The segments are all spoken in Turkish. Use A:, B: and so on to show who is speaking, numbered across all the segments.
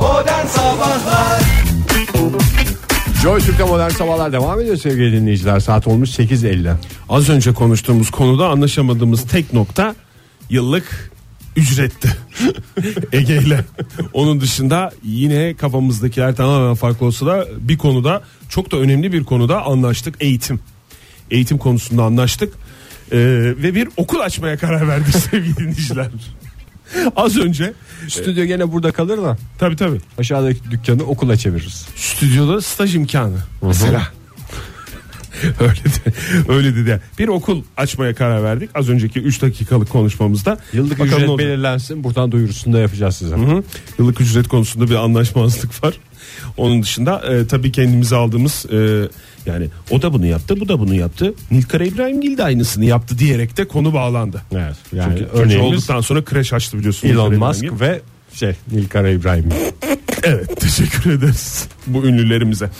A: Oh, Sabahlar
B: Joy Türk'te modern sabahlar devam ediyor sevgili dinleyiciler. Saat olmuş 8.50.
C: Az önce konuştuğumuz konuda anlaşamadığımız tek nokta yıllık ücretti. Ege ile. Onun dışında yine kafamızdakiler tamamen farklı olsa da bir konuda çok da önemli bir konuda anlaştık. Eğitim. Eğitim konusunda anlaştık. Ee, ve bir okul açmaya karar verdik sevgili dinleyiciler. Az önce
B: Stüdyo gene burada kalır da
C: tabi tabi
B: aşağıdaki dükkanı okula çeviririz.
C: stüdyoda staj imkanı mesela. öyle de, öyle dedi. Bir okul açmaya karar verdik. Az önceki 3 dakikalık konuşmamızda.
B: Yıllık
C: Bakalım ne
B: ücret
C: olacak?
B: belirlensin. Buradan duyurusunu da yapacağız size.
C: Hı hı. Yıllık ücret konusunda bir anlaşmazlık var. Onun dışında e, tabii kendimize aldığımız e, yani o da bunu yaptı, bu da bunu yaptı. Nilkara İbrahimgil de aynısını yaptı diyerek de konu bağlandı.
B: Evet. Yani
C: Çünkü çocuğu
B: örneğimiz
C: olduktan sonra kreş açtı biliyorsunuz.
B: Elon
C: Nilkara
B: Musk
C: İbrahimgil.
B: ve şey Nilkara İbrahim.
C: Evet teşekkür ederiz bu ünlülerimize.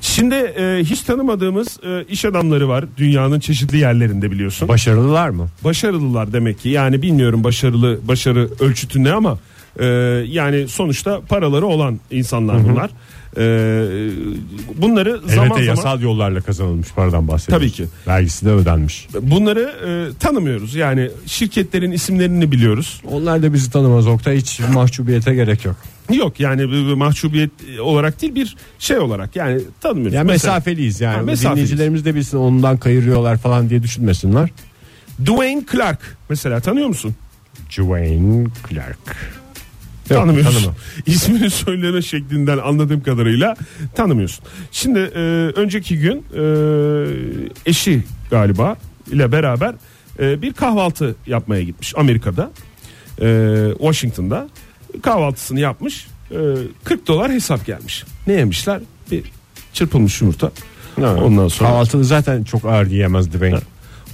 C: Şimdi e, hiç tanımadığımız e, iş adamları var dünyanın çeşitli yerlerinde biliyorsun.
B: Başarılılar mı?
C: Başarılılar demek ki yani bilmiyorum başarılı başarı ölçütü ne ama e, yani sonuçta paraları olan insanlar bunlar. E, bunları zaman
B: Elbette
C: zaman
B: yasal yollarla kazanılmış paradan bahsediyoruz.
C: Tabii ki.
B: Vergisi de ödenmiş.
C: bunları e, tanımıyoruz yani şirketlerin isimlerini biliyoruz.
B: Onlar da bizi tanımaz Oktay. Hiç mahcubiyete gerek yok.
C: Yok yani bir- bir mahcubiyet olarak değil bir şey olarak yani tanımıyoruz.
B: Yani
C: Mesela-
B: mesafeliyiz yani.
C: Ha, mesafeliyiz.
B: Dinleyicilerimiz de bilsin ondan kayırıyorlar falan diye düşünmesinler.
C: Dwayne Clark mesela tanıyor musun?
B: Dwayne Clark. Yok,
C: Tanımıyorsun.
B: tanımam.
C: İsmini söyleme şeklinden anladığım kadarıyla tanımıyorsun. Şimdi e, önceki gün e, eşi galiba ile beraber e, bir kahvaltı yapmaya gitmiş Amerika'da. E, Washington'da kahvaltısını yapmış. E, 40 dolar hesap gelmiş. Ne yemişler? Bir çırpılmış yumurta. Ondan sonra
B: Kahvaltını zaten çok ağır yiyemez Dwayne.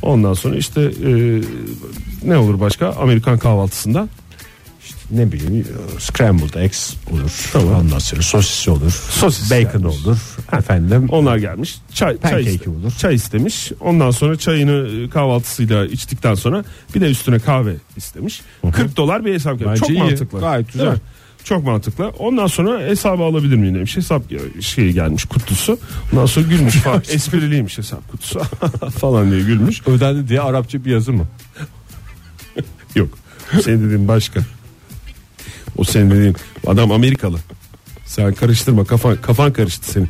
C: ondan sonra işte e, ne olur başka Amerikan kahvaltısında
B: Ne bileyim e, scrambled eggs olur. Ondan sonra sosis olur.
C: Sosis
B: Bacon
C: gelmiş.
B: olur. Efendim.
C: Onlar gelmiş. Çay, çay,
B: Pancake
C: iste-
B: olur.
C: çay istemiş. Ondan sonra çayını e, kahvaltısıyla içtikten sonra bir de üstüne kahve istemiş. 40 dolar bir hesap gelmiş.
B: Bence
C: Çok
B: iyi.
C: mantıklı.
B: Gayet güzel.
C: Değil mi? Çok mantıklı. Ondan sonra hesabı alabilir miyim demiş. Hesap e, şeyi gelmiş kutusu. Ondan sonra gülmüş falan. Espriliymiş hesap kutusu falan diye gülmüş.
B: Ödendi diye Arapça bir yazı mı?
C: Yok. Senin dediğin başka. O senin dediğin adam Amerikalı. Sen karıştırma kafan kafan karıştı senin.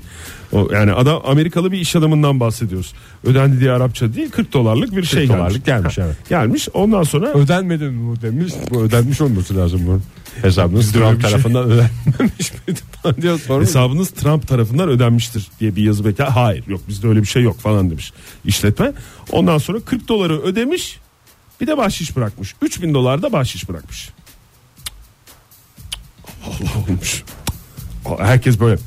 C: O yani adam Amerikalı bir iş adamından bahsediyoruz. Ödendi diye Arapça değil 40 dolarlık bir şey
B: dolarlık gelmiş,
C: Ha,
B: evet.
C: Gelmiş. Ondan sonra
B: Ödenmedi mi bu demiş. Bu ödenmiş olması lazım bunun. Hesabınız
C: Trump
B: Trump tarafından
C: tarafından
B: ödenmemiş miydi şey diyor
C: hesabınız Trump tarafından ödenmiştir diye bir yazı bekler. Hayır yok bizde öyle bir şey yok falan demiş işletme. Ondan sonra 40 doları ödemiş. Bir de bahşiş bırakmış. 3000 dolar da bahşiş bırakmış. Allah olmuş. Herkes böyle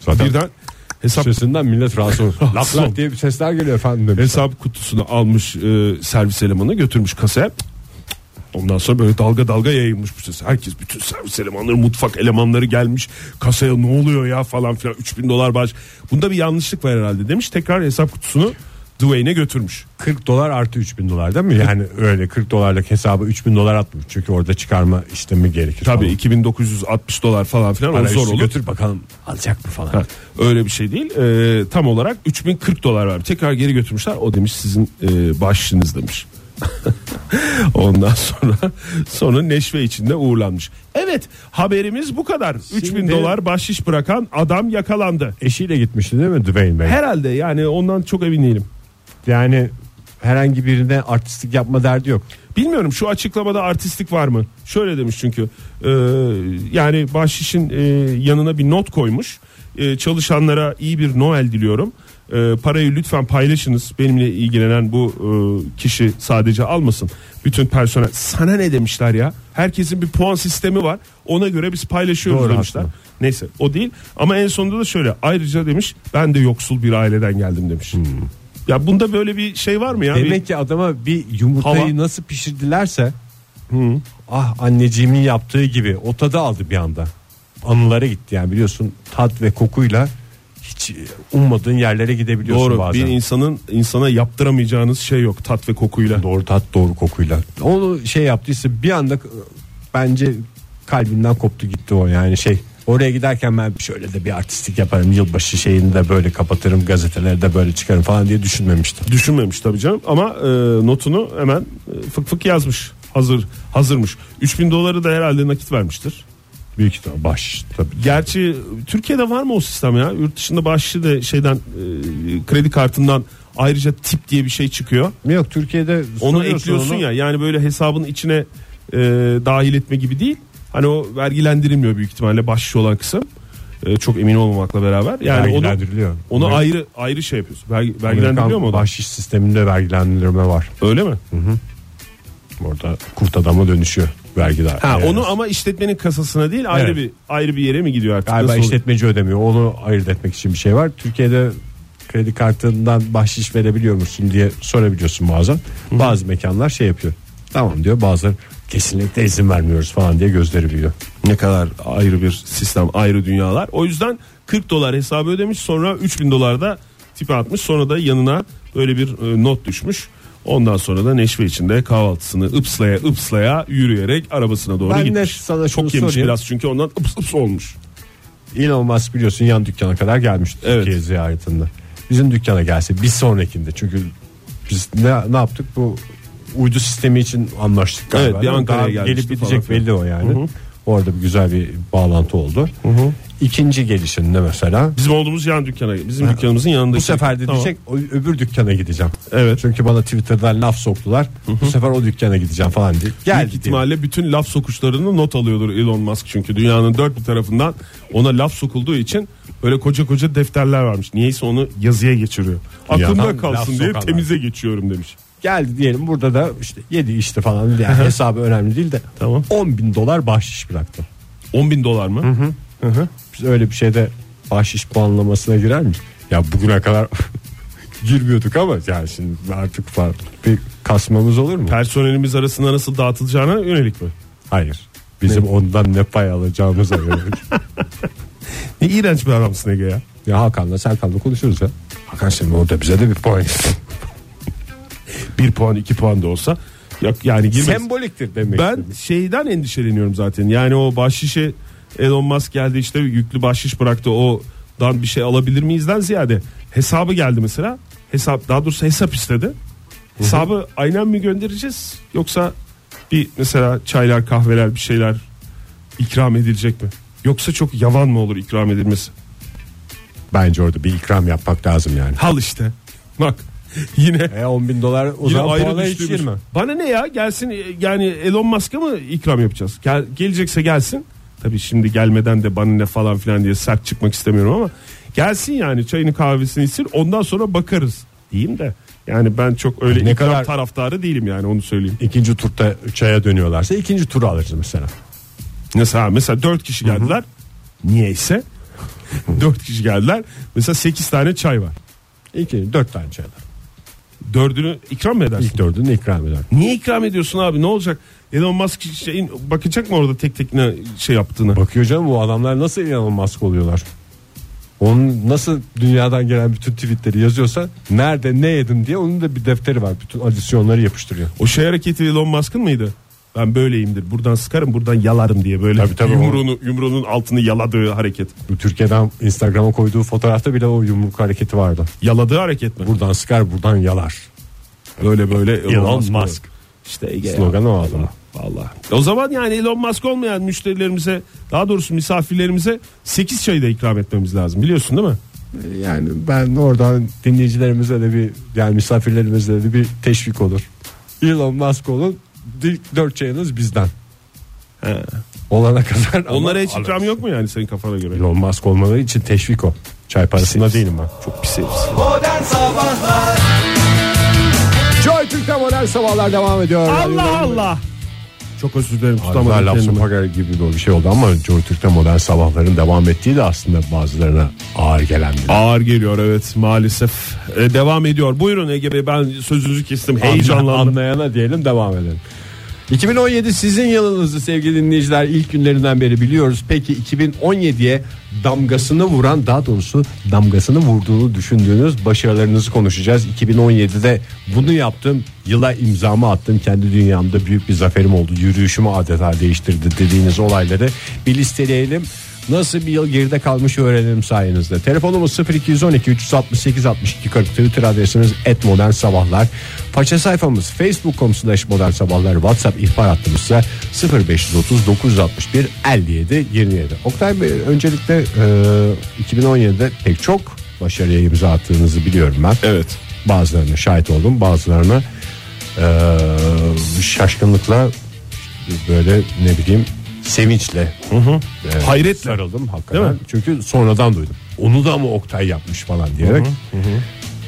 B: Zaten
C: birden hesap
B: sesinden millet rahatsız olur. lak lak diye bir sesler geliyor efendim demiş.
C: hesap kutusunu almış e, servis elemanı götürmüş kasaya. Ondan sonra böyle dalga dalga yayılmış bu ses. Herkes bütün servis elemanları, mutfak elemanları gelmiş. Kasaya ne oluyor ya falan filan 3000 dolar baş. Bunda bir yanlışlık var herhalde demiş. Tekrar hesap kutusunu Dwayne'e götürmüş.
B: 40 dolar artı 3000 dolar değil mi? Yani öyle 40 dolarlık hesabı 3000 dolar atmış. Çünkü orada çıkarma işlemi gerekir.
C: Tabii
B: falan.
C: 2960 dolar falan filan o
B: Para
C: zor
B: üstü
C: olur.
B: götür bakalım alacak mı falan.
C: Ha, öyle bir şey değil. E, tam olarak 3040 dolar var. Tekrar geri götürmüşler. O demiş sizin e, bahşişiniz demiş. Ondan sonra sonra neşve içinde uğurlanmış. Evet haberimiz bu kadar. 3000 dolar bahşiş bırakan adam yakalandı.
B: Eşiyle gitmişti değil mi Dwayne Bey?
C: Herhalde yani ondan çok emin değilim.
B: Yani herhangi birine artistlik yapma derdi yok.
C: Bilmiyorum şu açıklamada artistlik var mı? Şöyle demiş çünkü e, yani bahşişin e, yanına bir not koymuş. E, çalışanlara iyi bir Noel diliyorum. E, parayı lütfen paylaşınız. Benimle ilgilenen bu e, kişi sadece almasın. Bütün personel sana ne demişler ya? Herkesin bir puan sistemi var. Ona göre biz paylaşıyoruz
B: Doğru
C: demişler.
B: aslında.
C: Neyse o değil. Ama en sonunda da şöyle ayrıca demiş ben de yoksul bir aileden geldim demiş. Ya bunda böyle bir şey var mı ya? Bir-
B: Hmm. Demek ki adama bir yumurtayı
C: Hava-
B: nasıl pişirdilerse ah anneciğimin yaptığı gibi o tadı aldı bir anda. Anılara gitti yani biliyorsun tat ve kokuyla hiç ummadığın yerlere gidebiliyorsun
C: Doğru
B: bazen.
C: bir insanın insana yaptıramayacağınız şey yok tat ve kokuyla.
B: Doğru tat doğru kokuyla. Onu şey yaptıysa bir anda e, bence kalbinden koptu gitti o yani şey. Oraya giderken ben şöyle de bir artistik yaparım. Yılbaşı şeyini de böyle kapatırım. Gazeteleri de böyle çıkarım falan diye düşünmemiştim.
C: Düşünmemiş tabii canım ama e, notunu hemen e, fık fık yazmış. Hazır hazırmış. 3000 doları da herhalde nakit vermiştir.
B: Büyük ihtimal baş tabii.
C: Gerçi Türkiye'de var mı o sistem ya? Yurt dışında bahşişi de şeyden e, kredi kartından ayrıca tip diye bir şey çıkıyor.
B: Yok Türkiye'de
C: Onu
B: soruyorsun
C: ekliyorsun
B: onu.
C: ya yani böyle hesabın içine e, dahil etme gibi değil. Hani o vergilendirilmiyor büyük ihtimalle bahşiş olan kısım. E, çok emin olmamakla beraber. Yani onu,
B: vergilendiriliyor.
C: onu
B: Amerikan-
C: ayrı ayrı şey yapıyorsun. Vergi, vergilendiriliyor mu o da?
B: Bahşiş sisteminde vergilendirme var.
C: Öyle mi?
B: Orada kurt adama dönüşüyor vergiler.
C: Ha
B: Evet.
C: onu ama işletmenin kasasına değil ayrı
B: Evet.
C: bir ayrı bir yere mi gidiyor artık?
B: Galiba
C: Nasıl-
B: işletmeci ödemiyor. Onu ayırt etmek için bir şey var. Türkiye'de kredi kartından bahşiş verebiliyor musun diye sorabiliyorsun bazen. Bazı mekanlar şey yapıyor. Tamam diyor bazıları kesinlikle izin vermiyoruz falan diye gözleri büyüyor.
C: Ne kadar ayrı bir sistem, ayrı dünyalar. O yüzden 40 dolar hesabı ödemiş, sonra 3000 dolar da tipe atmış, sonra da yanına böyle bir e, not düşmüş. Ondan sonra da neşve içinde kahvaltısını ıpslaya ıpslaya yürüyerek arabasına doğru
B: Ben de
C: gitmiş.
B: sana şunu
C: Çok yemiş
B: sorayım.
C: biraz çünkü ondan ıps ıps olmuş.
B: Elon Musk biliyorsun yan dükkana kadar gelmişti
C: Evet.
B: Türkiye ziyaretinde. Bizim dükkana gelse bir sonrakinde çünkü biz ne, ne yaptık bu uydu sistemi için anlaştık galiba.
C: Evet, bir
B: değil mi?
C: Ankara'ya
B: Daha
C: gelmişti
B: Gelip gidecek
C: falan
B: belli o yani. Orada bir güzel bir bağlantı oldu. İkinci gelişinde mesela
C: Bizim olduğumuz yan dükkana, bizim dükkanımızın yanındaki.
B: bu sefer de
C: Tamam.
B: diyecek "O- öbür dükkana gideceğim.
C: Evet.
B: Çünkü bana Twitter'dan laf soktular. Bu sefer o dükkana gideceğim falan diye. Geldi
C: Büyük ihtimalle bütün laf sokuşlarını not alıyordur Elon Musk çünkü dünyanın dört bir tarafından ona laf sokulduğu için böyle koca koca defterler varmış. Niyeyse onu yazıya geçiriyor.
B: Dünyadan
C: Aklımda
B: laf
C: kalsın diye
B: sokanlar.
C: temize geçiyorum demiş.
B: geldi diyelim burada da işte yedi işte falan yani hesabı önemli değil de
C: Tamam.
B: 10 bin dolar bahşiş bıraktı.
C: 10 bin dolar mı?
B: Biz öyle bir şeyde bahşiş puanlamasına girer miyiz? Ya bugüne kadar girmiyorduk ama yani şimdi artık falan bir kasmamız olur mu?
C: Personelimiz arasında nasıl dağıtılacağına yönelik mi?
B: Hayır. Bizim ondan ne pay alacağımıza göre.
C: Ne iğrenç bir adamsın Ege ya.
B: ya Hakan'la Serkan'la konuşuruz ya. Hakan şimdi orada bize de bir puan.
C: Bir puan iki puan da olsa yok yani girmez.
B: Semboliktir demek.
C: Ben şeyden endişeleniyorum zaten. Yani o bahşişe Elon Musk geldi işte yüklü bahşiş bıraktı o dan bir şey alabilir miyizden ziyade hesabı geldi mesela. Hesap daha doğrusu hesap istedi. Hesabı aynen mi göndereceğiz yoksa bir mesela çaylar kahveler bir şeyler ikram edilecek mi? Yoksa çok yavan mı olur ikram edilmesi?
B: Bence orada bir ikram yapmak lazım yani.
C: Hal işte. Bak yine
B: E 10 bin dolar o
C: Yine
B: zaman
C: ayrı
B: puana hiç
C: düştüğümüz-
B: girme.
C: Bana ne ya gelsin e, yani Elon Musk'a mı ikram yapacağız? Gel, gelecekse gelsin. Tabii şimdi gelmeden de bana ne falan filan diye sert çıkmak istemiyorum ama gelsin yani çayını kahvesini içsin ondan sonra bakarız diyeyim de. Yani ben çok öyle
B: Ne
C: ikram
B: kadar-
C: taraftarı değilim yani onu söyleyeyim.
B: İkinci turda çaya dönüyorlarsa ikinci turu alırız mesela.
C: Mesela mesela 4 kişi geldiler. Niyeyse 4 kişi geldiler. Mesela 8 tane çay var.
B: İki, dört tane çay. alır.
C: Dördünü ikram mı edersin?
B: İlk dördünü ikram eder.
C: Niye ikram ediyorsun abi ne olacak? Elon Musk şeyin, bakacak mı orada tek tek ne şey yaptığını?
B: Bakıyor canım bu adamlar nasıl Elon Musk oluyorlar. Onun nasıl dünyadan gelen bütün tweetleri yazıyorsa nerede ne yedim diye onun da bir defteri var. Bütün adisyonları yapıştırıyor.
C: O şey hareketi Elon Musk'ın mıydı? Ben böyleyimdir. Buradan sıkarım, buradan yalarım diye böyle
B: Tabii, tabii.
C: yumruğunu yumruğunun altını yaladığı hareket.
B: Bu Türkiye'den Instagram'a koyduğu fotoğrafta bile o yumruk hareketi vardı.
C: Yaladığı hareket mi?
B: Buradan sıkar buradan yalar.
C: Böyle böyle
B: Elon
C: oluyor.
B: Musk.
C: İşte Ege ya.
B: Slogan o adamın.
C: Vallahi. O zaman yani Elon Musk olmayan müşterilerimize, daha doğrusu misafirlerimize 8 çayı da ikram etmemiz lazım. Biliyorsun değil mi?
B: Yani ben oradan dinleyicilerimize de bir yani misafirlerimize de bir teşvik olur. Elon Musk olun ilk dört çayınız bizden. Olana kadar. ama
C: Onlara hiç
B: alırız.
C: ikram yok mu yani senin kafana göre?
B: Elon Musk olmaları için teşvik o. Çay parasında değilim ben.
C: Çok pis herif.
A: Modern Sabahlar
B: Joy Türk'te modern sabahlar devam ediyor.
C: Allah Allah. Çok özür dilerim
B: Tutamadım laf
C: kendimi.
B: sokar gibi böyle bir şey oldu ama Joy Türk'te modern sabahların devam ettiği de aslında bazılarına ağır gelen bir.
C: Ağır geliyor evet maalesef. E, devam ediyor. Buyurun Ege Bey ben sözünüzü kestim.
B: Anla-
C: Heyecanlandım.
B: Anlayana diyelim devam edelim. 2017 sizin yılınızdı sevgili dinleyiciler ilk günlerinden beri biliyoruz. Peki 2017'ye damgasını vuran daha doğrusu damgasını vurduğunu düşündüğünüz başarılarınızı konuşacağız. 2017'de bunu yaptım yıla imzamı attım kendi dünyamda büyük bir zaferim oldu yürüyüşümü adeta değiştirdi dediğiniz olayları bir listeleyelim. Nasıl bir yıl geride kalmış öğrenelim sayenizde. Telefonumuz 0212 368 62 40. Twitter adresimiz et modern sabahlar. Faça sayfamız facebook.com slash modern sabahlar. Whatsapp ihbar hattımız ise 0530 961 57 27. Oktay Bey öncelikle e, 2017'de pek çok başarıya imza attığınızı biliyorum ben.
C: Evet.
B: Bazılarına şahit oldum bazılarına eee, şaşkınlıkla böyle ne bileyim sevinçle eee,
C: Hayretle.
B: sarıldım
C: Değil
B: hakikaten.
C: mi?
B: Çünkü sonradan duydum. Onu da mı Oktay yapmış falan diyerek.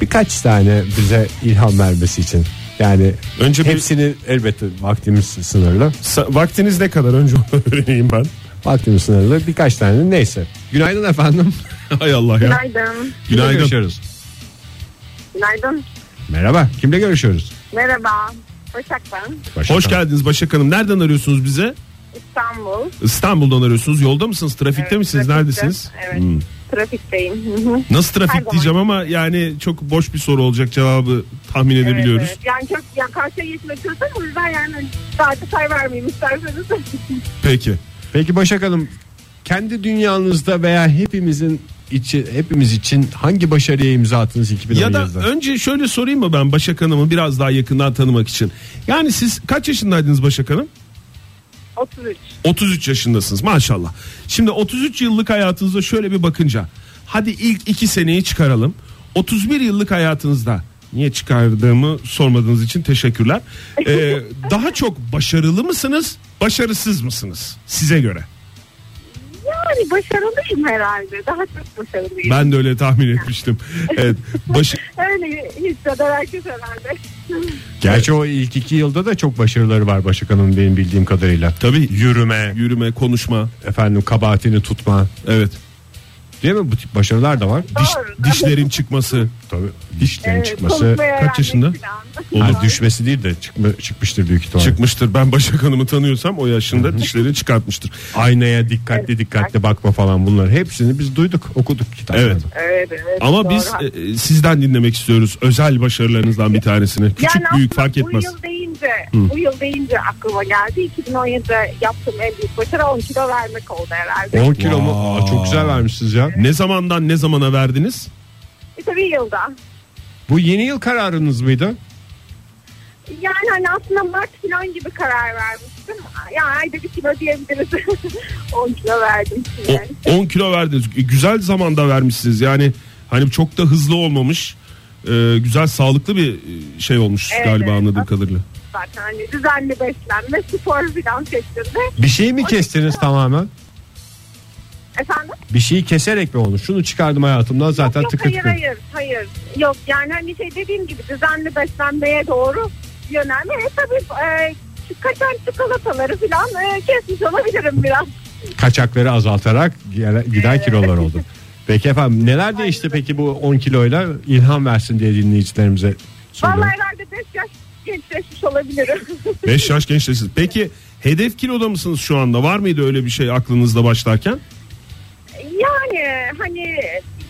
B: Birkaç tane bize ilham vermesi için yani
C: Önce bir-
B: hepsini elbette vaktimiz sınırlı.
C: Sa- Vaktiniz ne kadar önce onu öğreneyim ben.
B: Vaktimiz sınırlı birkaç tane neyse. Günaydın efendim.
C: Hay Allah ya.
D: Günaydın.
B: Günaydın.
C: Günaydın.
B: görüşüyoruz.
D: Günaydın.
B: Merhaba. Kimle görüşüyoruz?
D: Merhaba. Başak ben.
B: Başak
C: Hoş
B: Hanım.
C: geldiniz Başak Hanım. Nereden arıyorsunuz bize?
D: İstanbul.
C: İstanbul'dan arıyorsunuz. Yolda mısınız? Trafikte
D: Evet,
C: misiniz?
D: Ee, trafikte.
C: Neredesiniz? Hmm.
D: Evet. Trafikteyim. Hı hı.
C: Nasıl
D: Her
C: trafik
D: zaman.
C: diyeceğim ama yani çok boş bir soru olacak cevabı tahmin
D: Evet,
C: edebiliyoruz.
D: evet. Yani çok ya karşıya geçmek istiyorsan o yüzden yani saati say vermeyeyim isterseniz.
C: Peki.
B: Peki Başak Hanım kendi dünyanızda veya hepimizin içi hepimiz için hangi başarıya imza attınız 2017'de?
C: Ya da önce şöyle sorayım mı ben Başak Hanım'ı biraz daha yakından tanımak için. Yani siz kaç yaşındaydınız Başak Hanım?
D: 33.
C: 33 yaşındasınız maşallah. Şimdi 33 yıllık hayatınıza şöyle bir bakınca hadi ilk 2 seneyi çıkaralım. 31 yıllık hayatınızda niye çıkardığımı sormadığınız için teşekkürler. Ee, daha çok başarılı mısınız, başarısız mısınız size göre?
D: Yani başarılıyım herhalde. Daha çok başarılıyım.
C: Ben de öyle tahmin etmiştim. Evet. Baş,
D: Öyle hisseder herkes herhalde.
B: Gerçi o ilk iki yılda da çok başarıları var Başak Hanım benim bildiğim kadarıyla.
C: tabii
B: Yürüme,
C: yürüme, konuşma.
B: efendim kabahatini tutma.
C: Evet.
B: Değil mi? Bu tip başarılar da var.
C: Diş,
D: Doğru.
C: dişlerin çıkması.
B: Tabii dişlerin
D: Evet,
B: çıkması.
D: konuşmayı
C: kaç yaşında?
D: öğrenmek falan.
B: Hani düşmesi değil de çıkma, çıkmıştır büyük ihtimalle.
C: Çıkmıştır. Ben Başak Hanım'ı tanıyorsam o yaşında dişlerini çıkartmıştır.
B: Aynaya dikkatli dikkatli bakma falan bunlar. Hepsini biz duyduk, okuduk kitaplarda.
C: Evet.
D: Evet, evet,
C: Ama
D: doğru,
C: biz
D: haklısın.
C: e, sizden dinlemek istiyoruz özel başarılarınızdan bir tanesini. Küçük
D: Yani
C: büyük
D: aslında
C: fark etmez.
D: Bu yıl deyince, bu yıl deyince aklıma geldi. 2017'de yaptığım en büyük başarı 10 kilo vermek oldu herhalde.
B: 10 kilo mu?
C: Wow.
B: Aa, çok güzel vermişsiniz ya.
C: Ne zamandan ne zamana verdiniz?
D: İşte bir E, yılda.
B: Bu yeni yıl kararınız mıydı?
D: Yani hani aslında Mart falan gibi karar vermiştim. Ya ayda bir kilo diyebiliriz. 10 kilo verdim.
C: O-
D: Yani.
C: 10 kilo verdiniz. E, Güzel zamanda vermişsiniz. Yani hani çok da hızlı olmamış. e, güzel sağlıklı bir e, şey olmuş
D: Evet,
C: galiba
D: evet.
C: anladığım kadarıyla.
D: Zaten hani düzenli beslenme, spor falan şeklinde.
B: Bir şey mi kestiniz tamamen?
D: Efendim?
B: Bir şeyi keserek mi oldu? Şunu çıkardım hayatımdan zaten
D: Yok
B: tıkır
D: hayır
B: tıkır.
D: hayır hayır. Yok yani hani şey dediğim gibi düzenli beslenmeye doğru yönelme. E tabii e, şu kaçan çikolataları falan e, kesmiş olabilirim biraz.
B: Kaçakları azaltarak gele- giden kilolar oldu. Peki efendim neler değişti peki bu 10 kiloyla ilham versin diye dinleyicilerimize
D: Vallahi
B: söylüyorum.
D: herhalde 5 yaş gençleşmiş olabilirim.
C: 5 yaş gençleştiniz. Peki hedef kiloda mısınız şu anda? Var mıydı öyle bir şey aklınızda başlarken?
D: yani hani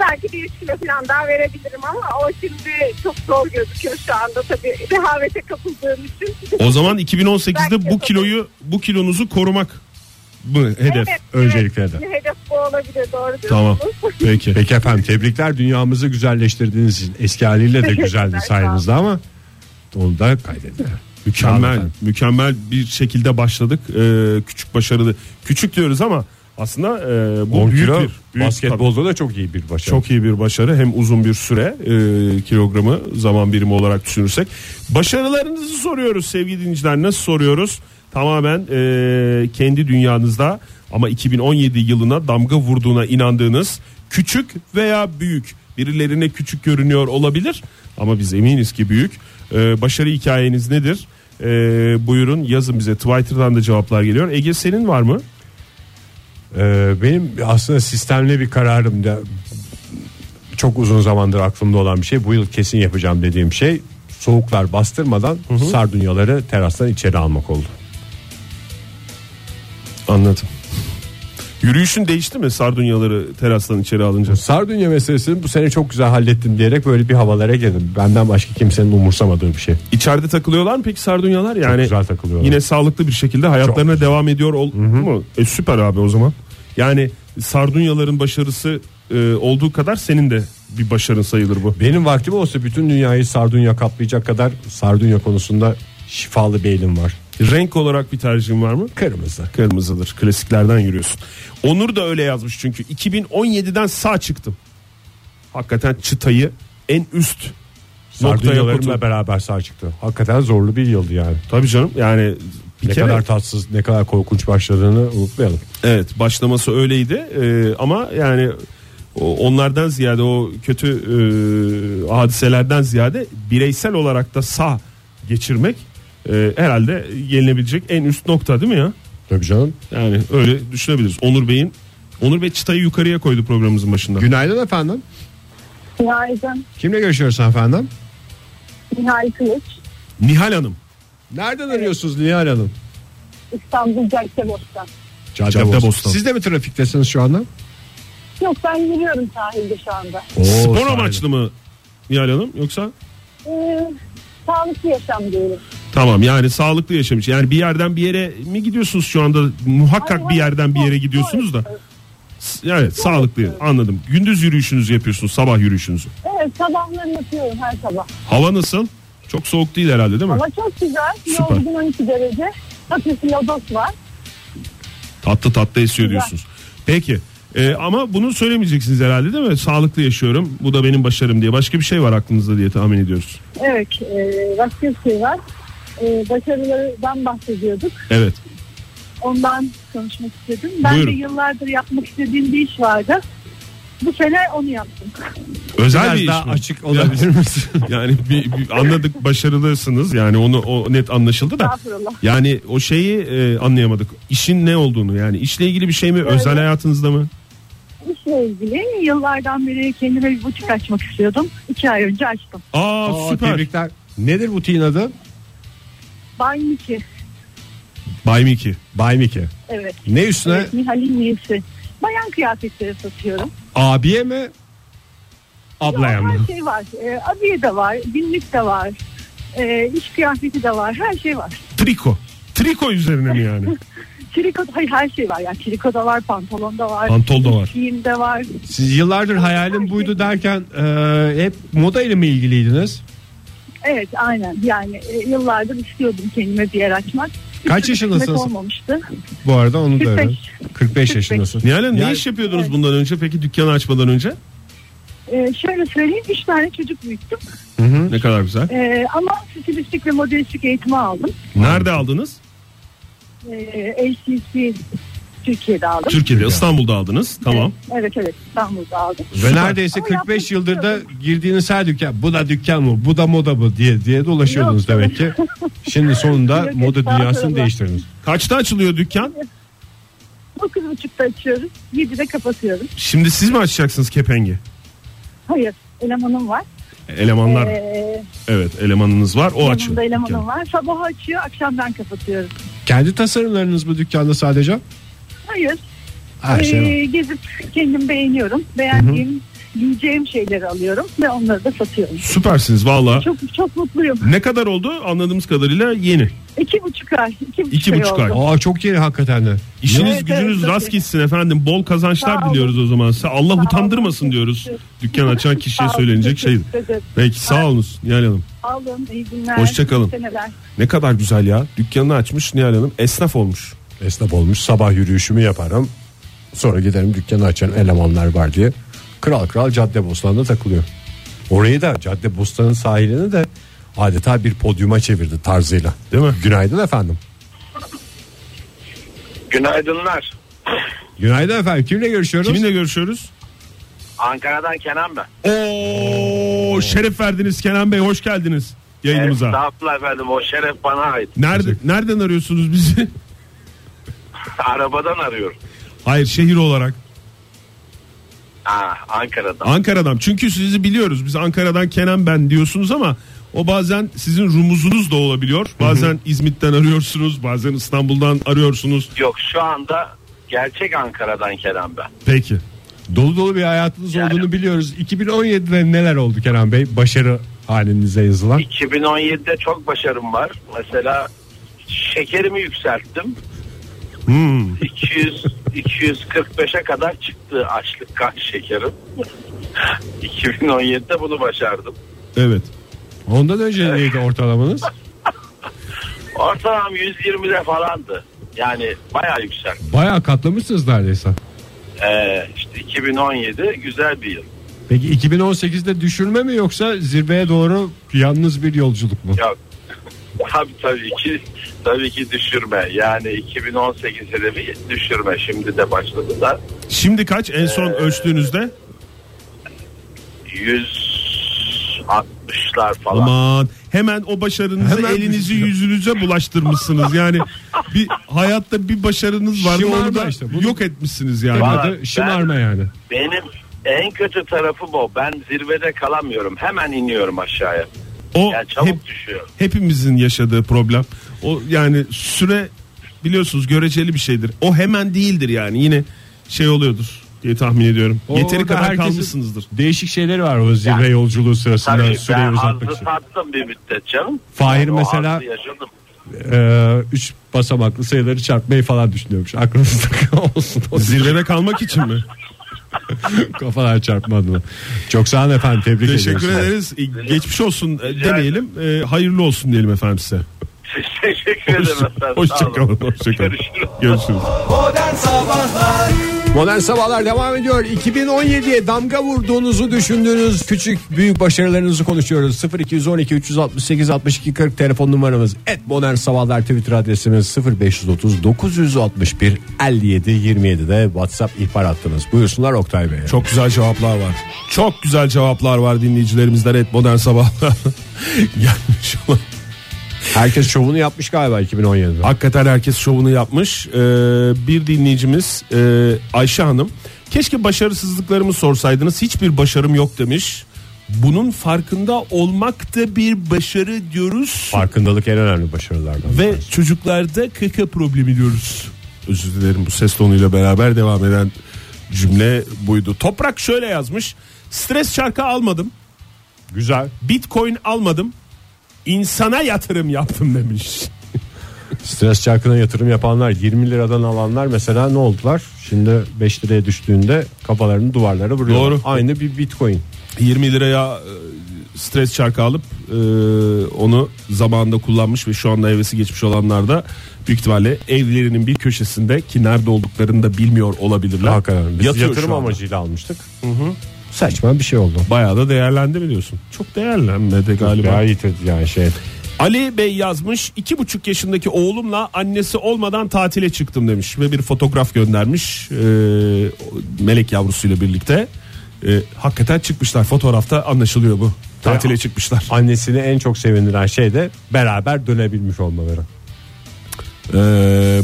D: belki bir üç kilo falan daha verebilirim ama o şimdi çok zor gözüküyor şu anda tabii. Rehavete kapıldığım için.
C: O zaman 2018'de bu
D: Belki
C: kiloyu bu kilonuzu korumak mı hedef?
B: öncelikle de.
D: Hedef bu olabilir doğru
C: Tamam.
D: diyorsunuz.
C: Peki.
B: Peki efendim tebrikler dünyamızı güzelleştirdiğiniz için eski haliyle de
D: Teşekkürler,
B: güzeldi
D: sağ olun.
B: sayenizde ama onu da kaydedin.
C: Mükemmel,
B: Sağ olun
C: mükemmel bir şekilde başladık. Ee, küçük başarılı. Küçük diyoruz ama aslında e, bu
B: 10
C: büyük
B: kilo
C: bir büyük,
B: basketbolda da çok iyi bir başarı.
C: tabii, çok iyi bir başarı. Hem uzun bir süre e, kilogramı zaman birimi olarak düşünürsek. Başarılarınızı soruyoruz sevgili dinleyiciler. Nasıl soruyoruz? Tamamen e, kendi dünyanızda ama 2017 yılına damga vurduğuna inandığınız küçük veya büyük birilerine küçük görünüyor olabilir ama biz eminiz ki büyük. E, başarı hikayeniz nedir? E, buyurun yazın bize Twitter'dan da cevaplar geliyor. Ege senin var mı?
B: Ee, benim aslında sistemli bir kararım da çok uzun zamandır aklımda olan bir şey bu yıl kesin yapacağım dediğim şey soğuklar bastırmadan sardunyaları terastan içeri almak oldu.
C: Anladım. Yürüyüşün değişti mi sardunyaları terastan içeri alınca?
B: Sardunya meselesini bu sene çok güzel hallettim diyerek böyle bir havalara girdim. Benden başka kimsenin umursamadığı bir şey.
C: İçeride takılıyorlar mı peki sardunyalar? Yani
B: güzel takılıyorlar.
C: Yine sağlıklı bir şekilde hayatlarına devam ediyor ol mu? E, süper abi o zaman. Yani Sardunyaların başarısı e, olduğu kadar senin de bir başarın sayılır bu.
B: Benim vaktim olsa bütün dünyayı sardunya kaplayacak kadar sardunya konusunda şifalı bir elim var.
C: Renk olarak bir tercihin var mı?
B: Kırmızı.
C: Kırmızıdır. Klasiklerden yürüyorsun. Onur da öyle yazmış çünkü 2017'den sağ çıktım. Hakikaten çıtayı en üst noktaya
B: Sardunyalarımla
C: koydum.
B: beraber sağ çıktı. Hakikaten zorlu bir yıldı yani.
C: Tabii canım yani bir
B: ne
C: kere
B: kadar tatsız, ne kadar korkunç başladığını unutmayalım.
C: evet başlaması öyleydi Ee, ama yani o- onlardan ziyade o kötü e, hadiselerden ziyade bireysel olarak da sağ geçirmek e, herhalde yenilebilecek en üst nokta değil mi ya?
B: Tabii canım.
C: Yani öyle düşünebiliriz. Onur Bey'in Onur Bey çıtayı yukarıya koydu programımızın başında.
B: Günaydın efendim.
D: Günaydın.
B: Kimle görüşüyoruz efendim?
D: Nihal Kılıç.
C: Nihal Hanım.
B: Nereden arıyorsunuz Nihal Hanım?
D: İstanbul Caddebostan.
C: Caddebostan.
B: Siz de mi trafiktesiniz şu anda?
D: Yok ben yürüyorum sahilde şu anda.
C: Spor
B: sahiden.
C: amaçlı mı Nihal Hanım yoksa?
D: Ee, sağlıklı yaşam diyelim.
C: Tamam yani sağlıklı yaşam için. Yani bir yerden bir yere mi gidiyorsunuz şu anda? Muhakkak bir yerden bir yere gidiyorsunuz da. S- Evet sağlıklı anladım. Gündüz yürüyüşünüzü yapıyorsunuz sabah yürüyüşünüzü.
D: Evet sabahları yapıyorum her sabah.
C: Hava nasıl? Çok soğuk değil herhalde değil mi?
D: Ama çok güzel.
C: Süper.
D: Yorgun 12 derece. Hafif lodos var.
C: Tatlı tatlı esiyor diyorsunuz. Peki Ee, ama bunu söylemeyeceksiniz herhalde değil mi? Sağlıklı yaşıyorum bu da benim başarım diye. Başka bir şey var aklınızda diye tahmin ediyoruz.
D: Evet. E, başka bir şey var. E, başarılardan bahsediyorduk.
C: Evet.
D: Ondan konuşmak istedim. Ben
C: Buyurun.
D: de yıllardır yapmak istediğim bir iş vardı. Bu sene onu yaptım.
C: Özel
B: Biraz
C: bir iş
B: daha
C: mi?
B: açık olabilir misin?
C: Yani bir, bir anladık başarılısınız yani onu o net anlaşıldı da.
D: Estağfurullah.
C: Yani o şeyi e, anlayamadık. İşin ne olduğunu yani işle ilgili bir şey mi özel hayatınızda mı?
D: İşle ilgili yıllardan beri kendime bir butik açmak istiyordum. İki ay önce açtım.
C: Aa,
B: Aa,
C: süper.
B: Tebrikler. Nedir butiğin adı?
D: Bay Miki.
C: Bay Miki.
B: Bay Miki.
D: Evet.
B: Ne üstüne?
D: evet Nihal'in üyesi. Bayan kıyafetleri satıyorum.
B: Abiye mi? Ablaya
D: Yok,
B: mı?
D: Her şey var. Ee, abiye de var. Günlük de var. Ee, iş kıyafeti de var. Her şey var.
C: Triko. Triko üzerine mi yani?
D: Çiriko, hayır her şey var. Yani çiriko da var, pantolon da var.
C: Pantol da var.
D: Giyim de var.
B: Siz yıllardır hayalim buydu derken e, hep moda ile mi ilgiliydiniz?
D: Evet aynen. Yani e, yıllardır istiyordum kendime bir yer açmak. Bir
B: Kaç
D: türlü
B: yaşındasınız?
D: kısmet Olmamıştı.
B: Bu arada onu da
D: 45.
B: öğren. 45 yaşındasın.
C: Nihal Hanım ne
B: Yani-
C: iş yapıyordunuz bundan önce peki dükkanı açmadan önce?
D: Ee, şöyle söyleyeyim. Üç tane çocuk büyüttüm.
C: Ne kadar güzel.
D: Ee, ama stilistik ve modelistik eğitimi aldım.
C: Nerede aldınız?
D: Ee, ACC Türkiye'de aldım.
C: Türkiye'de İstanbul'da aldınız. Tamam.
D: Evet evet İstanbul'da aldım.
B: Ve neredeyse
D: Ama
B: 45
D: yapmak
B: yıldır da
D: istiyorum.
B: girdiğiniz her dükkan bu da dükkan mı bu da moda mı diye diye dolaşıyordunuz
D: Yok.
B: demek ki. Şimdi sonunda
D: Yok,
B: moda dünyasını
D: estağfurullah.
B: değiştirdiniz.
C: Kaçta açılıyor dükkan?
D: 9.30'da açıyoruz. 7'de kapatıyoruz.
C: Şimdi siz mi açacaksınız kepengi?
D: Hayır elemanım var.
C: Elemanlar.
D: Ee,
C: Evet elemanınız var o açıyor.
D: yanımda elemanım
C: dükkanı.
D: var. Sabah açıyor akşamdan kapatıyoruz.
B: Kendi tasarımlarınız bu dükkanda sadece?
D: Hayır.
C: Ah,
B: Her şey var.
D: Ee, gezip kendim beğeniyorum. Beğendiğim giyeceğim şeyleri alıyorum ve onları da satıyorum.
C: Süpersiniz valla.
D: Çok çok mutluyum.
C: Ne kadar oldu anladığımız kadarıyla yeni.
D: İki buçuk ay. iki buçuk,
C: İki buçuk ay.
D: oldu.
B: Aa çok yeni hakikaten de.
C: İşiniz
D: Evet,
C: gücünüz
D: evet,
C: rast
D: tabii.
C: gitsin efendim. Bol kazançlar
D: Sağ olun.
C: diliyoruz o zaman. size. Allah utandırmasın
D: olun.
C: diyoruz. Dükkan açan kişiye
D: Sağ olun,
C: söylenecek şey.
D: teşekkür ederim.
C: Peki sağ olunuz Nihal Hanım.
D: Alın iyi günler.
C: Hoşça kalın.
D: iyi seneler.
C: Ne kadar güzel ya. Dükkanını açmış Nihal Hanım. Esnaf olmuş.
B: Esnaf olmuş sabah yürüyüşümü yaparım. Sonra giderim dükkanı açarım elemanlar var diye. Kral kral cadde bostanda takılıyor. Orayı da cadde bostanın sahilini de adeta bir podyuma çevirdi tarzıyla. Değil mi? Günaydın efendim.
E: Günaydınlar.
B: Günaydın efendim. Kimle görüşüyoruz?
C: Kiminle görüşüyoruz?
E: Ankara'dan Kenan ben.
C: Oo şeref verdiniz Kenan Bey. Hoş geldiniz yayınımıza.
E: Estağfurullah efendim o şeref bana ait.
C: Nerede, nereden arıyorsunuz bizi?
E: Arabadan arıyorum.
C: Hayır şehir olarak.
E: Aa, Ankara'dan.
C: Ankara'dan. Çünkü sizi biliyoruz. Biz Ankara'dan Kenan ben diyorsunuz ama o bazen sizin rumuzunuz da olabiliyor. Bazen İzmit'ten arıyorsunuz, bazen İstanbul'dan arıyorsunuz.
E: Yok şu anda gerçek Ankara'dan Kenan ben.
C: Peki.
B: Dolu dolu bir hayatınız
E: Yani-
B: olduğunu biliyoruz. 2017'de neler oldu Kenan Bey? Başarı halinize yazılan.
E: 2017'de çok başarım var. Mesela şekerimi yükselttim. 200 245'e kadar çıktı açlık kan şekerim. 2017'de bunu başardım.
C: Evet.
B: Ondan önce neydi ortalamanız?
E: Ortalam 120'de falandı. Yani bayağı yüksek.
B: Bayağı katlamışsınız neredeyse.
E: Ee, işte 2017 güzel bir yıl.
B: Peki 2018'de düşürme mi yoksa zirveye doğru yalnız bir yolculuk mu?
E: Ya tabii tabii ki tabii ki düşürme. Yani 2018'de de bir düşürme. Şimdi de başladı da
C: Şimdi kaç en son
E: Ee,
C: ölçtüğünüzde?
E: 160'lar falan.
C: Aman hemen o başarınızı
B: Hemen şey
C: elinizi
B: düşüyor.
C: yüzünüze bulaştırmışsınız. Yani bir hayatta bir başarınız var
B: Şımarma
C: onu da
B: işte, bunu-
C: yok etmişsiniz yani.
E: Valla
B: Adı şımarma
E: ben-
B: yani.
E: Benim en kötü tarafı bu. Ben zirvede kalamıyorum. Hemen iniyorum aşağıya.
C: O
E: Yani çabuk
C: hep,
E: düşüyor.
C: hepimizin yaşadığı problem. O yani süre biliyorsunuz göreceli bir şeydir. O hemen değildir yani yine şey oluyordur diye tahmin ediyorum.
B: O-
C: Yeteri
B: orada
C: kadar
B: herkesin
C: kalmışsınızdır.
B: Değişik şeyleri var o zirve yolculuğu sırasında
E: Tabii
B: süreyi
E: ben
B: uzatmak
E: hazzı
B: için.
E: tattım bir müddet canım.
B: Fahir
E: Yani o
B: mesela-
E: hazzı yaşadım.
B: Ee, üç basamaklı sayıları çarpmayı falan düşünüyormuş. Aklınızda olsun.
C: Zirvede kalmak için mi?
B: Kafalar çarpma adına. Çok sağ olun efendim. Tebrik ediyoruz.
C: Teşekkür ederiz. Geçmiş olsun e,
E: Rica
C: demeyelim. E, hayırlı olsun diyelim efendim size.
E: Teşekkür ederim efendim. Sağ olun.
C: Hoşçakalın. Hoşçakalın.
E: Görüşürüz.
C: Görüşürüz.
A: Modern Sabahlar
B: Modern Sabahlar devam ediyor. 2017'ye damga vurduğunuzu düşündüğünüz küçük büyük başarılarınızı konuşuyoruz. 0212 368 62 40 telefon numaramız. Et Modern Sabahlar Twitter adresimiz 0530 961 57 27'de WhatsApp ihbar hattımız. Buyursunlar Oktay Bey.
C: Çok güzel cevaplar var. Çok güzel cevaplar var dinleyicilerimizden et modern sabahlar. Gelmiş olan.
B: herkes şovunu yapmış galiba 2017'de.
C: Hakikaten herkes şovunu yapmış. Ee, bir dinleyicimiz e, Ayşe Hanım. Keşke başarısızlıklarımı sorsaydınız. Hiçbir başarım yok demiş. Bunun farkında olmak da bir başarı diyoruz.
B: Farkındalık en önemli başarılardan.
C: Ve çocuklarda kaka problemi diyoruz. Özür dilerim bu ses tonuyla beraber devam eden cümle buydu. Toprak şöyle yazmış. Stres çarkı almadım.
B: güzel.
C: Bitcoin almadım. insana yatırım yaptım demiş.
B: Stres çarkına yatırım yapanlar 20 liradan alanlar mesela ne oldular? Şimdi 5 liraya düştüğünde kafalarını duvarlara vuruyorlar.
C: Doğru.
B: Aynı bir bitcoin.
C: 20 liraya e, stres çarkı alıp e, onu zamanında kullanmış ve şu anda hevesi geçmiş olanlar da büyük ihtimalle evlerinin bir köşesinde ki nerede olduklarını da bilmiyor olabilirler.
B: Hakikaten biz
C: Yatıyor
B: yatırım
C: şu anda.
B: amacıyla almıştık. Saçma bir şey oldu.
C: Bayağı da değerlendi mi diyorsun? Çok değerlenmedi galiba.
B: Gayet yani şey.
C: Ali Bey yazmış iki buçuk yaşındaki oğlumla annesi olmadan tatile çıktım demiş ve bir fotoğraf göndermiş e, melek yavrusuyla birlikte. E, hakikaten çıkmışlar fotoğrafta anlaşılıyor bu tatile
B: Ya.
C: çıkmışlar.
B: Annesini en çok sevindiren şey de beraber dönebilmiş olmaları.
C: E,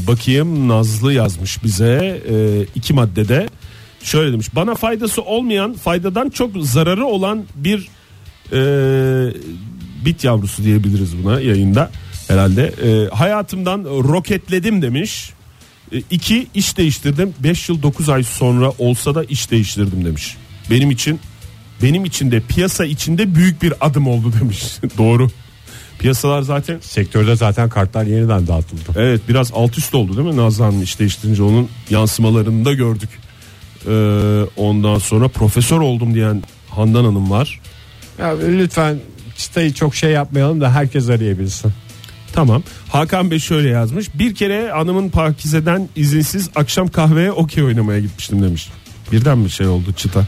C: bakayım Nazlı yazmış bize e, iki maddede şöyle demiş bana faydası olmayan faydadan çok zararı olan bir e, bit yavrusu diyebiliriz buna yayında herhalde E, hayatımdan roketledim demiş. 2 iş değiştirdim. 5 yıl 9 ay sonra olsa da iş değiştirdim demiş. Benim için benim için de piyasa içinde büyük bir adım oldu demiş. Doğru. Piyasalar zaten
B: Sektörde zaten kartlar yeniden dağıtıldı.
C: Evet biraz alt üst oldu değil mi Nazlı Hanım iş değiştirince onun yansımalarını da gördük. Ee, ondan sonra profesör oldum diyen Handan Hanım var.
B: Ya lütfen çıtayı çok şey yapmayalım da herkes arayabilsin.
C: Tamam. Hakan Bey şöyle yazmış. Bir kere hanımın Pakize'den izinsiz akşam kahveye okey oynamaya gitmiştim demiş. Birden bir şey oldu çıta.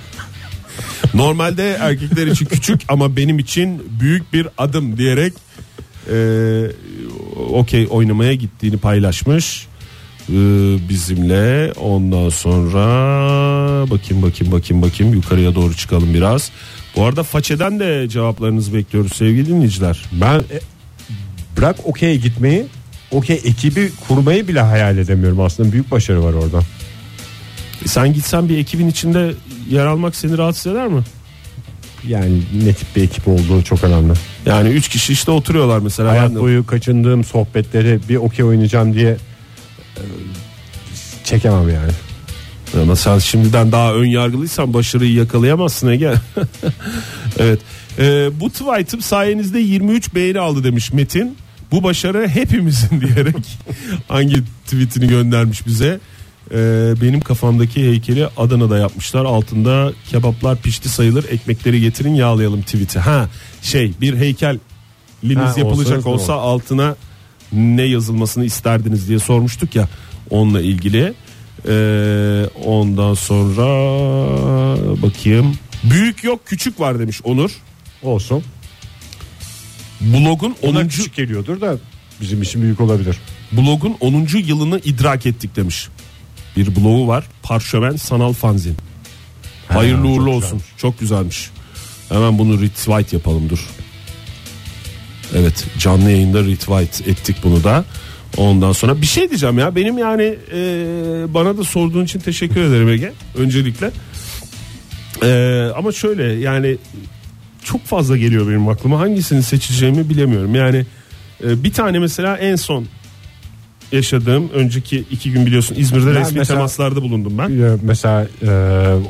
C: Normalde erkekler için küçük ama benim için büyük bir adım diyerek e, okey oynamaya gittiğini paylaşmış e, bizimle. Ondan sonra bakayım bakayım bakayım bakayım yukarıya doğru çıkalım biraz. Bu arada façeden de cevaplarınızı bekliyoruz sevgili dinleyiciler.
B: Ben e, bırak okey'e gitmeyi, okey ekibi kurmayı bile hayal edemiyorum aslında. Büyük başarı var orada.
C: E Sen gitsen bir ekibin içinde yer almak seni rahatsız eder mi?
B: Yani ne tip bir ekip olduğu çok önemli.
C: Yani üç kişi işte oturuyorlar mesela.
B: Hayat
C: Ben de-
B: boyu kaçındığım sohbetleri bir okey oynayacağım diye e, çekemem yani.
C: Ama sen şimdiden daha ön yargılıysan başarıyı yakalayamazsın Ege. evet. Ee, bu tweet'im sayenizde 23 beğeni aldı demiş Metin. Bu başarı hepimizin diyerek hangi tweetini göndermiş bize. e, benim kafamdaki heykeli Adana'da yapmışlar. Altında kebaplar pişti sayılır ekmekleri getirin yağlayalım tweet'i. Ha şey bir heykelimiz
B: Ha, olsa
C: yapılacak
B: olur.
C: olsa altına ne yazılmasını isterdiniz diye sormuştuk ya onunla ilgili. E, ondan sonra bakayım. Büyük yok küçük var demiş Onur.
B: Olsun.
C: Blogun 10.
B: Ona küçük geliyordur da bizim için büyük olabilir.
C: blogun 10. yılını idrak ettik demiş. Bir blogu var. Parşömen Sanal Fanzin. Hayırlı
B: çok
C: uğurlu
B: güzelmiş.
C: olsun. Çok güzelmiş. Hemen bunu retweet yapalım dur. Evet canlı yayında retweet ettik bunu da. Ondan sonra bir şey diyeceğim ya benim yani e, bana da sorduğun için teşekkür ederim Ege öncelikle. E, ama şöyle yani çok fazla geliyor benim aklıma hangisini seçeceğimi bilemiyorum. Yani e, bir tane mesela en son yaşadığım önceki iki gün biliyorsun İzmir'de
B: Ben
C: resmi
B: mesela-
C: temaslarda bulundum ben.
B: Ee, Mesela e,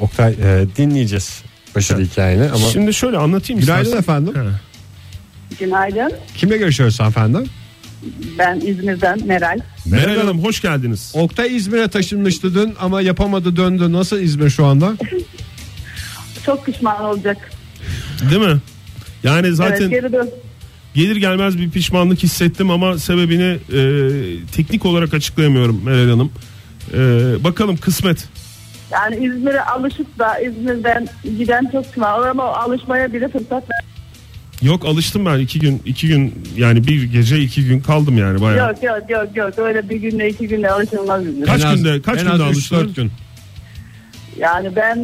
B: Oktay e, dinleyeceğiz başarı hikayeni ama
C: Şimdi şöyle anlatayım
B: Günaydın
C: istersen.
B: efendim.
D: Günaydın.
B: Kimle görüşüyoruz efendim?
D: Ben İzmir'den Meral.
C: Meral Hanım hoş geldiniz.
B: Oktay İzmir'e taşınmıştı dün ama yapamadı döndü. Nasıl İzmir şu anda?
D: Çok pişman olacak.
C: Değil mi? Yani zaten
D: Evet, geri dön.
C: gelir gelmez bir pişmanlık hissettim ama sebebini e, teknik olarak açıklayamıyorum Meral Hanım. E, bakalım kısmet.
D: Yani İzmir'e alışıp da İzmir'den giden çok pişman olur ama o alışmaya bile fırsat
C: Yok alıştım ben iki gün iki gün yani bir gece iki gün kaldım yani bayağı.
D: yok. Yok yok yok öyle bir günde iki günde alışılmaz İzmir.
C: Kaç
B: En az-
C: günde- kaç
B: en
C: günde
B: az üç,
C: alıştın?
B: dört gün.
D: Yani ben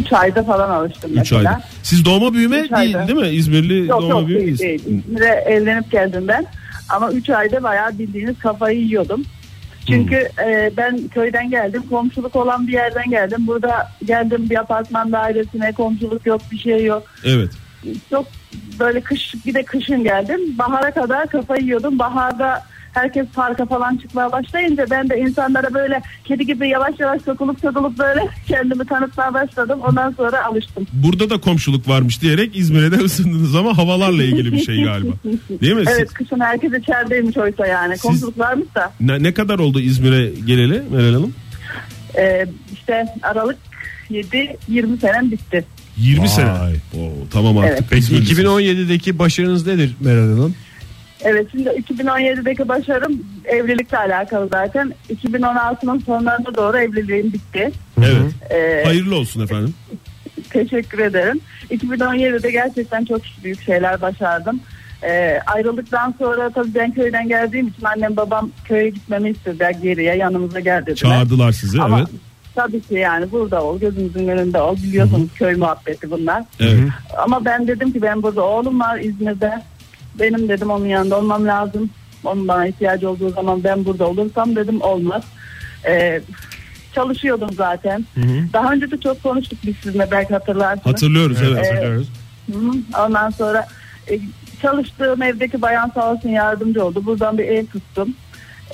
D: 3 ayda falan alıştım
C: Üç
D: mesela.
C: ayda. Siz doğma büyüme
D: Üç
C: değil
D: ayda.
C: değil mi? İzmirli
D: Yok
C: doğma
D: yok
C: büyüme
D: değil, değil. İzmir'e evlenip geldim ben. Ama 3 ayda bayağı bildiğiniz kafayı yiyordum. Çünkü
C: Hmm.
D: e, ben köyden geldim. Komşuluk olan bir yerden geldim. Burada geldim bir apartman dairesine. Komşuluk yok bir şey yok.
C: Evet.
D: Çok böyle kış bir de kışın geldim. Bahara kadar kafayı yiyordum. Baharda herkes parka falan çıkmaya başlayınca ben de insanlara böyle kedi gibi yavaş yavaş sokulup sokulup böyle kendimi tanıtmaya başladım. Ondan sonra alıştım.
C: Burada da komşuluk varmış diyerek İzmir'e de ısındınız ama havalarla ilgili bir şey galiba. Değil mi? Siz-
D: Evet kışın herkes içerideymiş oysa yani. Komşuluk varmış da.
C: ne, ne kadar oldu İzmir'e geleli Meral Hanım?
D: Ee, işte Aralık 7 20 senem bitti.
C: 20
B: Vay.
C: sene. Oo, tamam artık.
D: Evet.
B: Peki
C: İzmirlisiniz.
B: 2017'deki başarınız nedir Meral Hanım?
D: Evet şimdi 2017'deki başarım evlilikle alakalı zaten. 2016'nın sonlarına doğru evliliğim bitti.
C: Evet.
D: Ee,
C: Hayırlı olsun efendim.
D: teşekkür ederim. 2017'de gerçekten çok büyük şeyler başardım. Ee, ayrıldıktan sonra tabii ben köyden geldiğim için annem babam köye gitmemi istediler geriye yanımıza gel dediler.
C: Çağırdılar sizi.
D: Ama
C: Evet.
D: tabii ki yani burada ol gözümüzün önünde ol biliyorsunuz köy muhabbeti bunlar.
C: Evet.
D: Ama ben dedim ki ben burada oğlum var İzmir'de. Benim dedim onun yanında olmam lazım. Onun bana ihtiyacı olduğu zaman ben burada olursam dedim olmaz. Ee, çalışıyordum zaten. Daha önce de çok konuştuk biz sizinle belki hatırlarsınız.
C: Hatırlıyoruz evet.
D: Evet.
C: hatırlıyoruz.
D: Hı hı. Ondan sonra e, çalıştığım evdeki bayan sağ olsun yardımcı oldu. Buradan bir ev tuttum.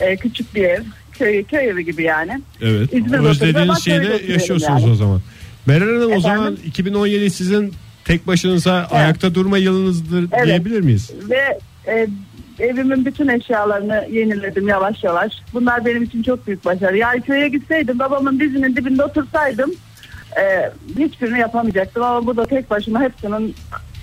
D: E, küçük bir ev. Köy, köy evi gibi yani.
C: Evet.
D: İzmir'de oturuyorum ama
B: Özlediğiniz
D: köyde
B: şeyle
D: oturuyorum
B: yaşıyorsunuz
D: yani.
B: o zaman. Meral Hanım o
D: Efendim?
B: zaman 2017 sizin tek başınıza ayakta durma yılınızdır
D: Evet.
B: diyebilir miyiz?
D: Ve e, evimin bütün eşyalarını yeniledim yavaş yavaş. Bunlar benim için çok büyük başarı. Yani köye gitseydim babamın dizinin dibinde otursaydım e, hiçbirini yapamayacaktım. Ama burada tek başıma hepsinin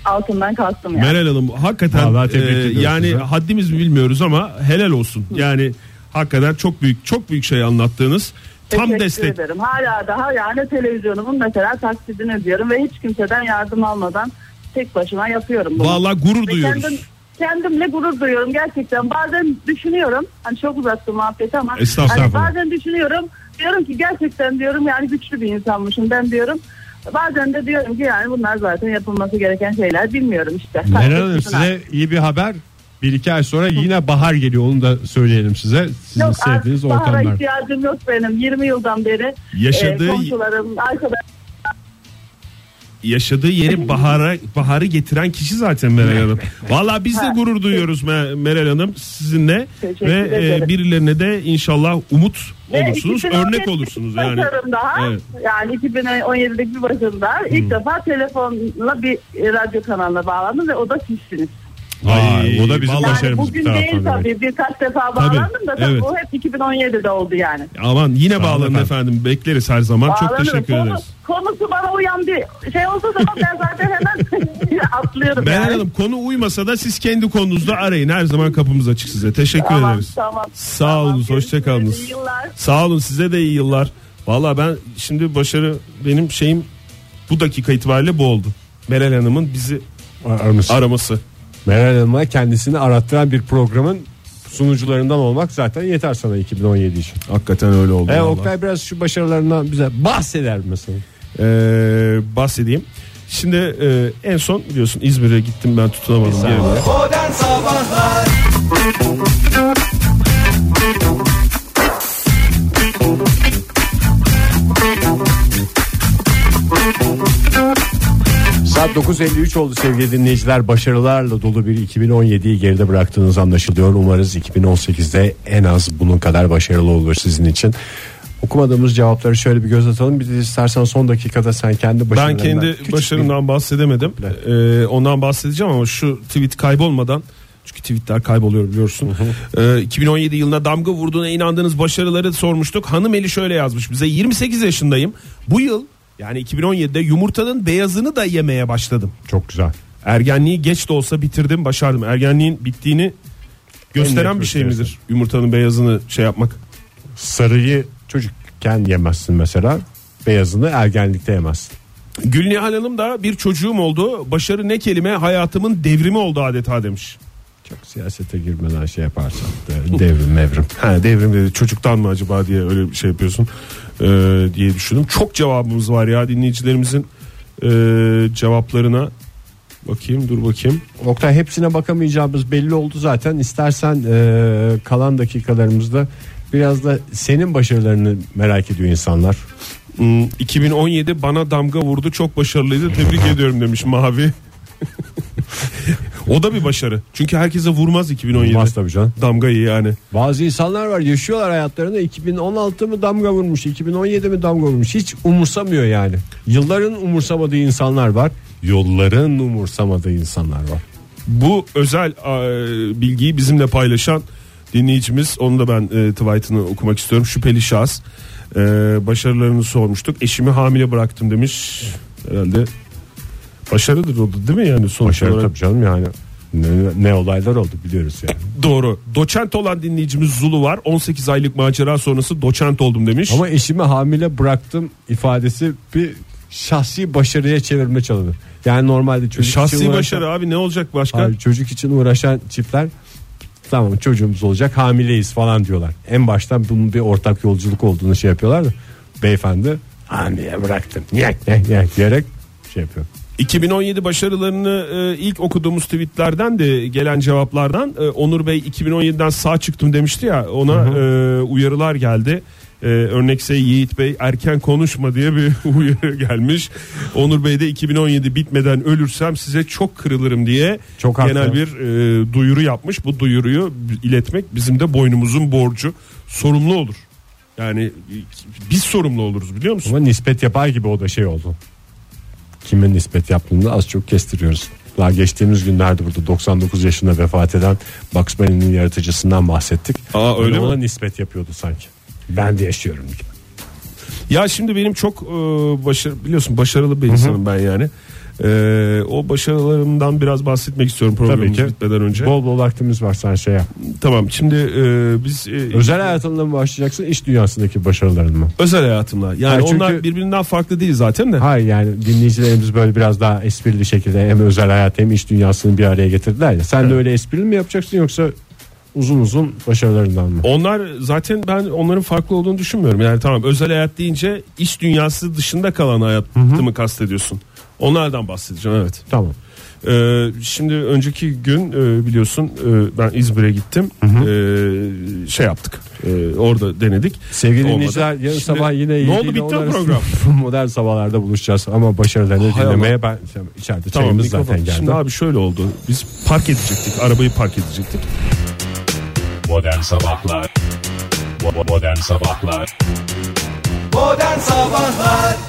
D: altından kalktım yani.
C: Meral Hanım hakikaten
B: Vallahi tebrik
C: e,
B: ediyoruz
C: yani
B: size.
C: haddimiz mi bilmiyoruz ama helal olsun. Yani hakikaten çok büyük çok büyük şey anlattığınız tam
D: Teşekkür
C: destek.
D: ederim. Hala daha yani televizyonumun mesela taksidini ödüyorum ve hiç kimseden yardım almadan tek başıma yapıyorum bunu.
C: Vallahi gurur
D: Ve
C: duyuyoruz.
D: kendim- kendimle gurur duyuyorum gerçekten. Bazen düşünüyorum. Hani çok uzattım muhabbeti ama.
C: Estağfurullah.
D: Hani bazen düşünüyorum. Diyorum ki gerçekten diyorum yani güçlü bir insanmışım ben diyorum. Bazen de diyorum ki yani bunlar zaten yapılması gereken şeyler bilmiyorum işte.
B: Meral Hanım
D: Taksidini
B: size iyi bir haber. Bir iki ay sonra yine bahar geliyor onu da söyleyelim size. Sizin
D: Yok
B: sevdiğiniz
D: artık bahara
B: ortamlar.
D: ihtiyacım yok benim. 20 yıldan beri
C: Yaşadığı-
D: e, komşularım, arkadaşlarım
C: yaşadığı yeri bahara baharı getiren kişi zaten Meral Hanım. Valla biz de
D: Ha.
C: gurur duyuyoruz Me- Meral Hanım sizinle
D: Teşekkür
C: ve e,
D: ederim.
C: birilerine de inşallah umut
D: Ve
C: olursunuz,
D: 2017'deki
C: örnek olursunuz yani.
D: başarım daha.
C: Evet.
D: Yani 2017'deki bir başarım daha. İlk defa telefonla bir e, radyo kanalına bağlandım ve o da sizsiniz.
F: Ay, o da bizim
C: vallahi-
F: başarımız bir
D: bugün değil
F: taraftan demek.
D: tabii birkaç defa bağlandım da tabii
C: evet.
D: bu hep 2017'de oldu yani.
C: Aman yine bağlanın
F: efendim.
C: efendim. Bekleriz her zaman. Çok
D: Bağlanırım.
C: teşekkür
D: Konu-
C: ederiz.
D: Konusu bana uyan bir şey olsa zaman ben zaten hemen atlıyorum.
C: Ben
D: yani.
C: Hanım konu uymasa da siz kendi konunuzda arayın. Her zaman kapımız açık size. Teşekkür
D: Tamam,
C: ederiz.
D: tamam.
C: Sağ
D: Tamam,
C: olun.
D: görüşürüz.
C: Hoşçakalınız.
D: İyi yıllar.
C: Sağ olun size de iyi yıllar. Valla ben şimdi başarı benim şeyim bu dakika itibariyle bu oldu. Meral Hanım'ın bizi
B: Aramış.
C: araması.
B: Meral Hanım'a kendisini arattıran bir programın sunucularından olmak zaten yeter sana 2017 için.
C: Hakikaten öyle oldu.
B: E,
C: vallahi.
B: Oktay biraz şu başarılarından bize bahseder misin?
C: Ee, bahsedeyim. Şimdi e, en son biliyorsun İzmir'e gittim ben tutunamadım. Yerine.
A: Modern Sabahlar
B: Saat 9.53 oldu sevgili dinleyiciler. Başarılarla dolu bir 2017'yi geride bıraktığınız anlaşılıyor. Umarız 2018'de en az bunun kadar başarılı olur sizin için. Okumadığımız cevapları şöyle bir göz atalım. Bir de istersen son dakikada sen kendi
C: Ben
B: başarılarından...
C: kendi
B: Küçük bir-
C: başarımdan bahsedemedim. Ee, ondan bahsedeceğim ama şu tweet kaybolmadan çünkü tweetler kayboluyor biliyorsun. Ee, 2017 yılında damga vurduğuna inandığınız başarıları sormuştuk. Hanım eli şöyle yazmış bize 28 yaşındayım. Bu yıl yani 2017'de yumurtanın beyazını da yemeye başladım.
B: Çok güzel.
C: Ergenliği geç de olsa bitirdim başardım. Ergenliğin bittiğini gösteren bir şey
B: gösterisi.
C: midir? Yumurtanın beyazını şey yapmak.
B: Sarıyı çocukken yemezsin mesela. Beyazını ergenlikte yemezsin.
C: Gülnihal Hanım da bir çocuğum oldu. Başarı ne kelime hayatımın devrimi oldu adeta demiş.
B: Çok siyasete girmeden şey yaparsan de- devrim mevrim.
C: Ha, devrim dedi çocuktan mı acaba diye öyle bir şey yapıyorsun ee, diye düşündüm. Çok cevabımız var ya dinleyicilerimizin ee, cevaplarına. Bakayım dur bakayım.
B: Oktay hepsine bakamayacağımız belli oldu zaten. İstersen e, kalan dakikalarımızda biraz da senin başarılarını merak ediyor insanlar.
C: Hmm, 2017 bana damga vurdu çok başarılıydı tebrik ediyorum demiş Mavi. o da bir başarı. Çünkü herkese vurmaz 2017.
B: Olmaz tabii canım.
C: Damgayı yani.
B: Bazı insanlar var yaşıyorlar hayatlarını 2016 mı damga vurmuş 2017 mi damga vurmuş hiç umursamıyor yani. Yılların umursamadığı insanlar var. Yolların umursamadığı insanlar var.
C: Bu özel e, bilgiyi bizimle paylaşan dinleyicimiz onu da ben e, tweetini okumak istiyorum. Şüpheli şahıs e, başarılarını sormuştuk. Eşimi hamile bıraktım demiş. Herhalde başarıdır o da değil mi yani sonuç
B: Başarı
C: olarak?
B: tabii canım yani. Ne, ne olaylar oldu biliyoruz yani.
C: Doğru. Doçent olan dinleyicimiz Zulu var. 18 aylık macera sonrası doçent oldum demiş.
B: Ama eşimi hamile bıraktım ifadesi bir şahsi başarıya çevirme çalınır. Yani normalde çocuk için
C: Şahsi
B: uğraşan,
C: başarı abi ne olacak başka?
B: Hayır, çocuk için uğraşan çiftler tamam çocuğumuz olacak hamileyiz falan diyorlar. En baştan bunun bir ortak yolculuk olduğunu şey yapıyorlar da beyefendi hamile bıraktım yek yek yek diyerek şey yapıyor.
C: 2017 başarılarını e, ilk okuduğumuz tweetlerden de gelen cevaplardan e, Onur Bey 2017'den sağ çıktım demişti ya ona e, uyarılar geldi. E, örnekse Yiğit Bey erken konuşma diye bir uyarı gelmiş. Onur Bey de 2017 bitmeden ölürsem size çok kırılırım diye
B: Çok haklı.
C: genel bir e, duyuru yapmış. Bu duyuruyu iletmek bizim de boynumuzun borcu. Sorumlu olur. Yani e, biz sorumlu oluruz biliyor musun?
B: Ama nispet yapar gibi o da şey oldu. Kime nispet yaptığını da az çok kestiriyoruz. Daha geçtiğimiz günlerde burada 99 yaşında vefat eden Bugs Bunny'nin yaratıcısından bahsettik.
C: Aa, öyle
B: Hani
C: mi?
B: Ona nispet yapıyordu sanki. Ben de yaşıyorum. gibi.
C: Ya şimdi benim çok e, başarı biliyorsun başarılı bir insanım ben yani. E, o başarılarımdan biraz bahsetmek istiyorum
B: Tabii
C: programımız
B: ki.
C: bitmeden önce.
B: Bol bol vaktimiz var sen şey yap.
C: tamam şimdi e, biz e,
B: Özel hayatınla mı başlayacaksın iş dünyasındaki başarıların mı?
C: özel hayatımla. Yani
B: Ha, çünkü-
C: onlar birbirinden farklı değil zaten de.
B: Hayır yani dinleyicilerimiz böyle biraz daha esprili şekilde hem özel hayat hem iş dünyasını bir araya getirdiler ya. Sen de öyle esprili mi yapacaksın yoksa uzun uzun başarılarından mı?
C: Onlar zaten ben onların farklı olduğunu düşünmüyorum. Yani tamam özel hayat deyince iş dünyası dışında kalan hayatımı kastediyorsun. Onlardan bahsedeceğim evet.
B: Tamam.
C: Ee, şimdi önceki gün e, biliyorsun e, ben İzmir'e gittim. Ee, şey yaptık. Ee, orada denedik.
B: Sevgili
C: Olmadı.
B: dinleyiciler yarın
C: Şimdi
B: sabah yine
C: ne
B: yedi
C: oldu
B: ile
C: bitti
B: on
C: o
B: arası
C: program.
B: modern sabahlarda buluşacağız ama başarılarını
C: Hay
B: dinlemeye ben içeride
C: Tamam
B: çayımız
C: mikrofon.
B: zaten geldi.
C: Şimdi abi şöyle oldu. Biz park edecektik. Arabayı park edecektik.
F: Modern Sabahlar Bo- Modern Sabahlar
A: Oh, Modern Sabahlar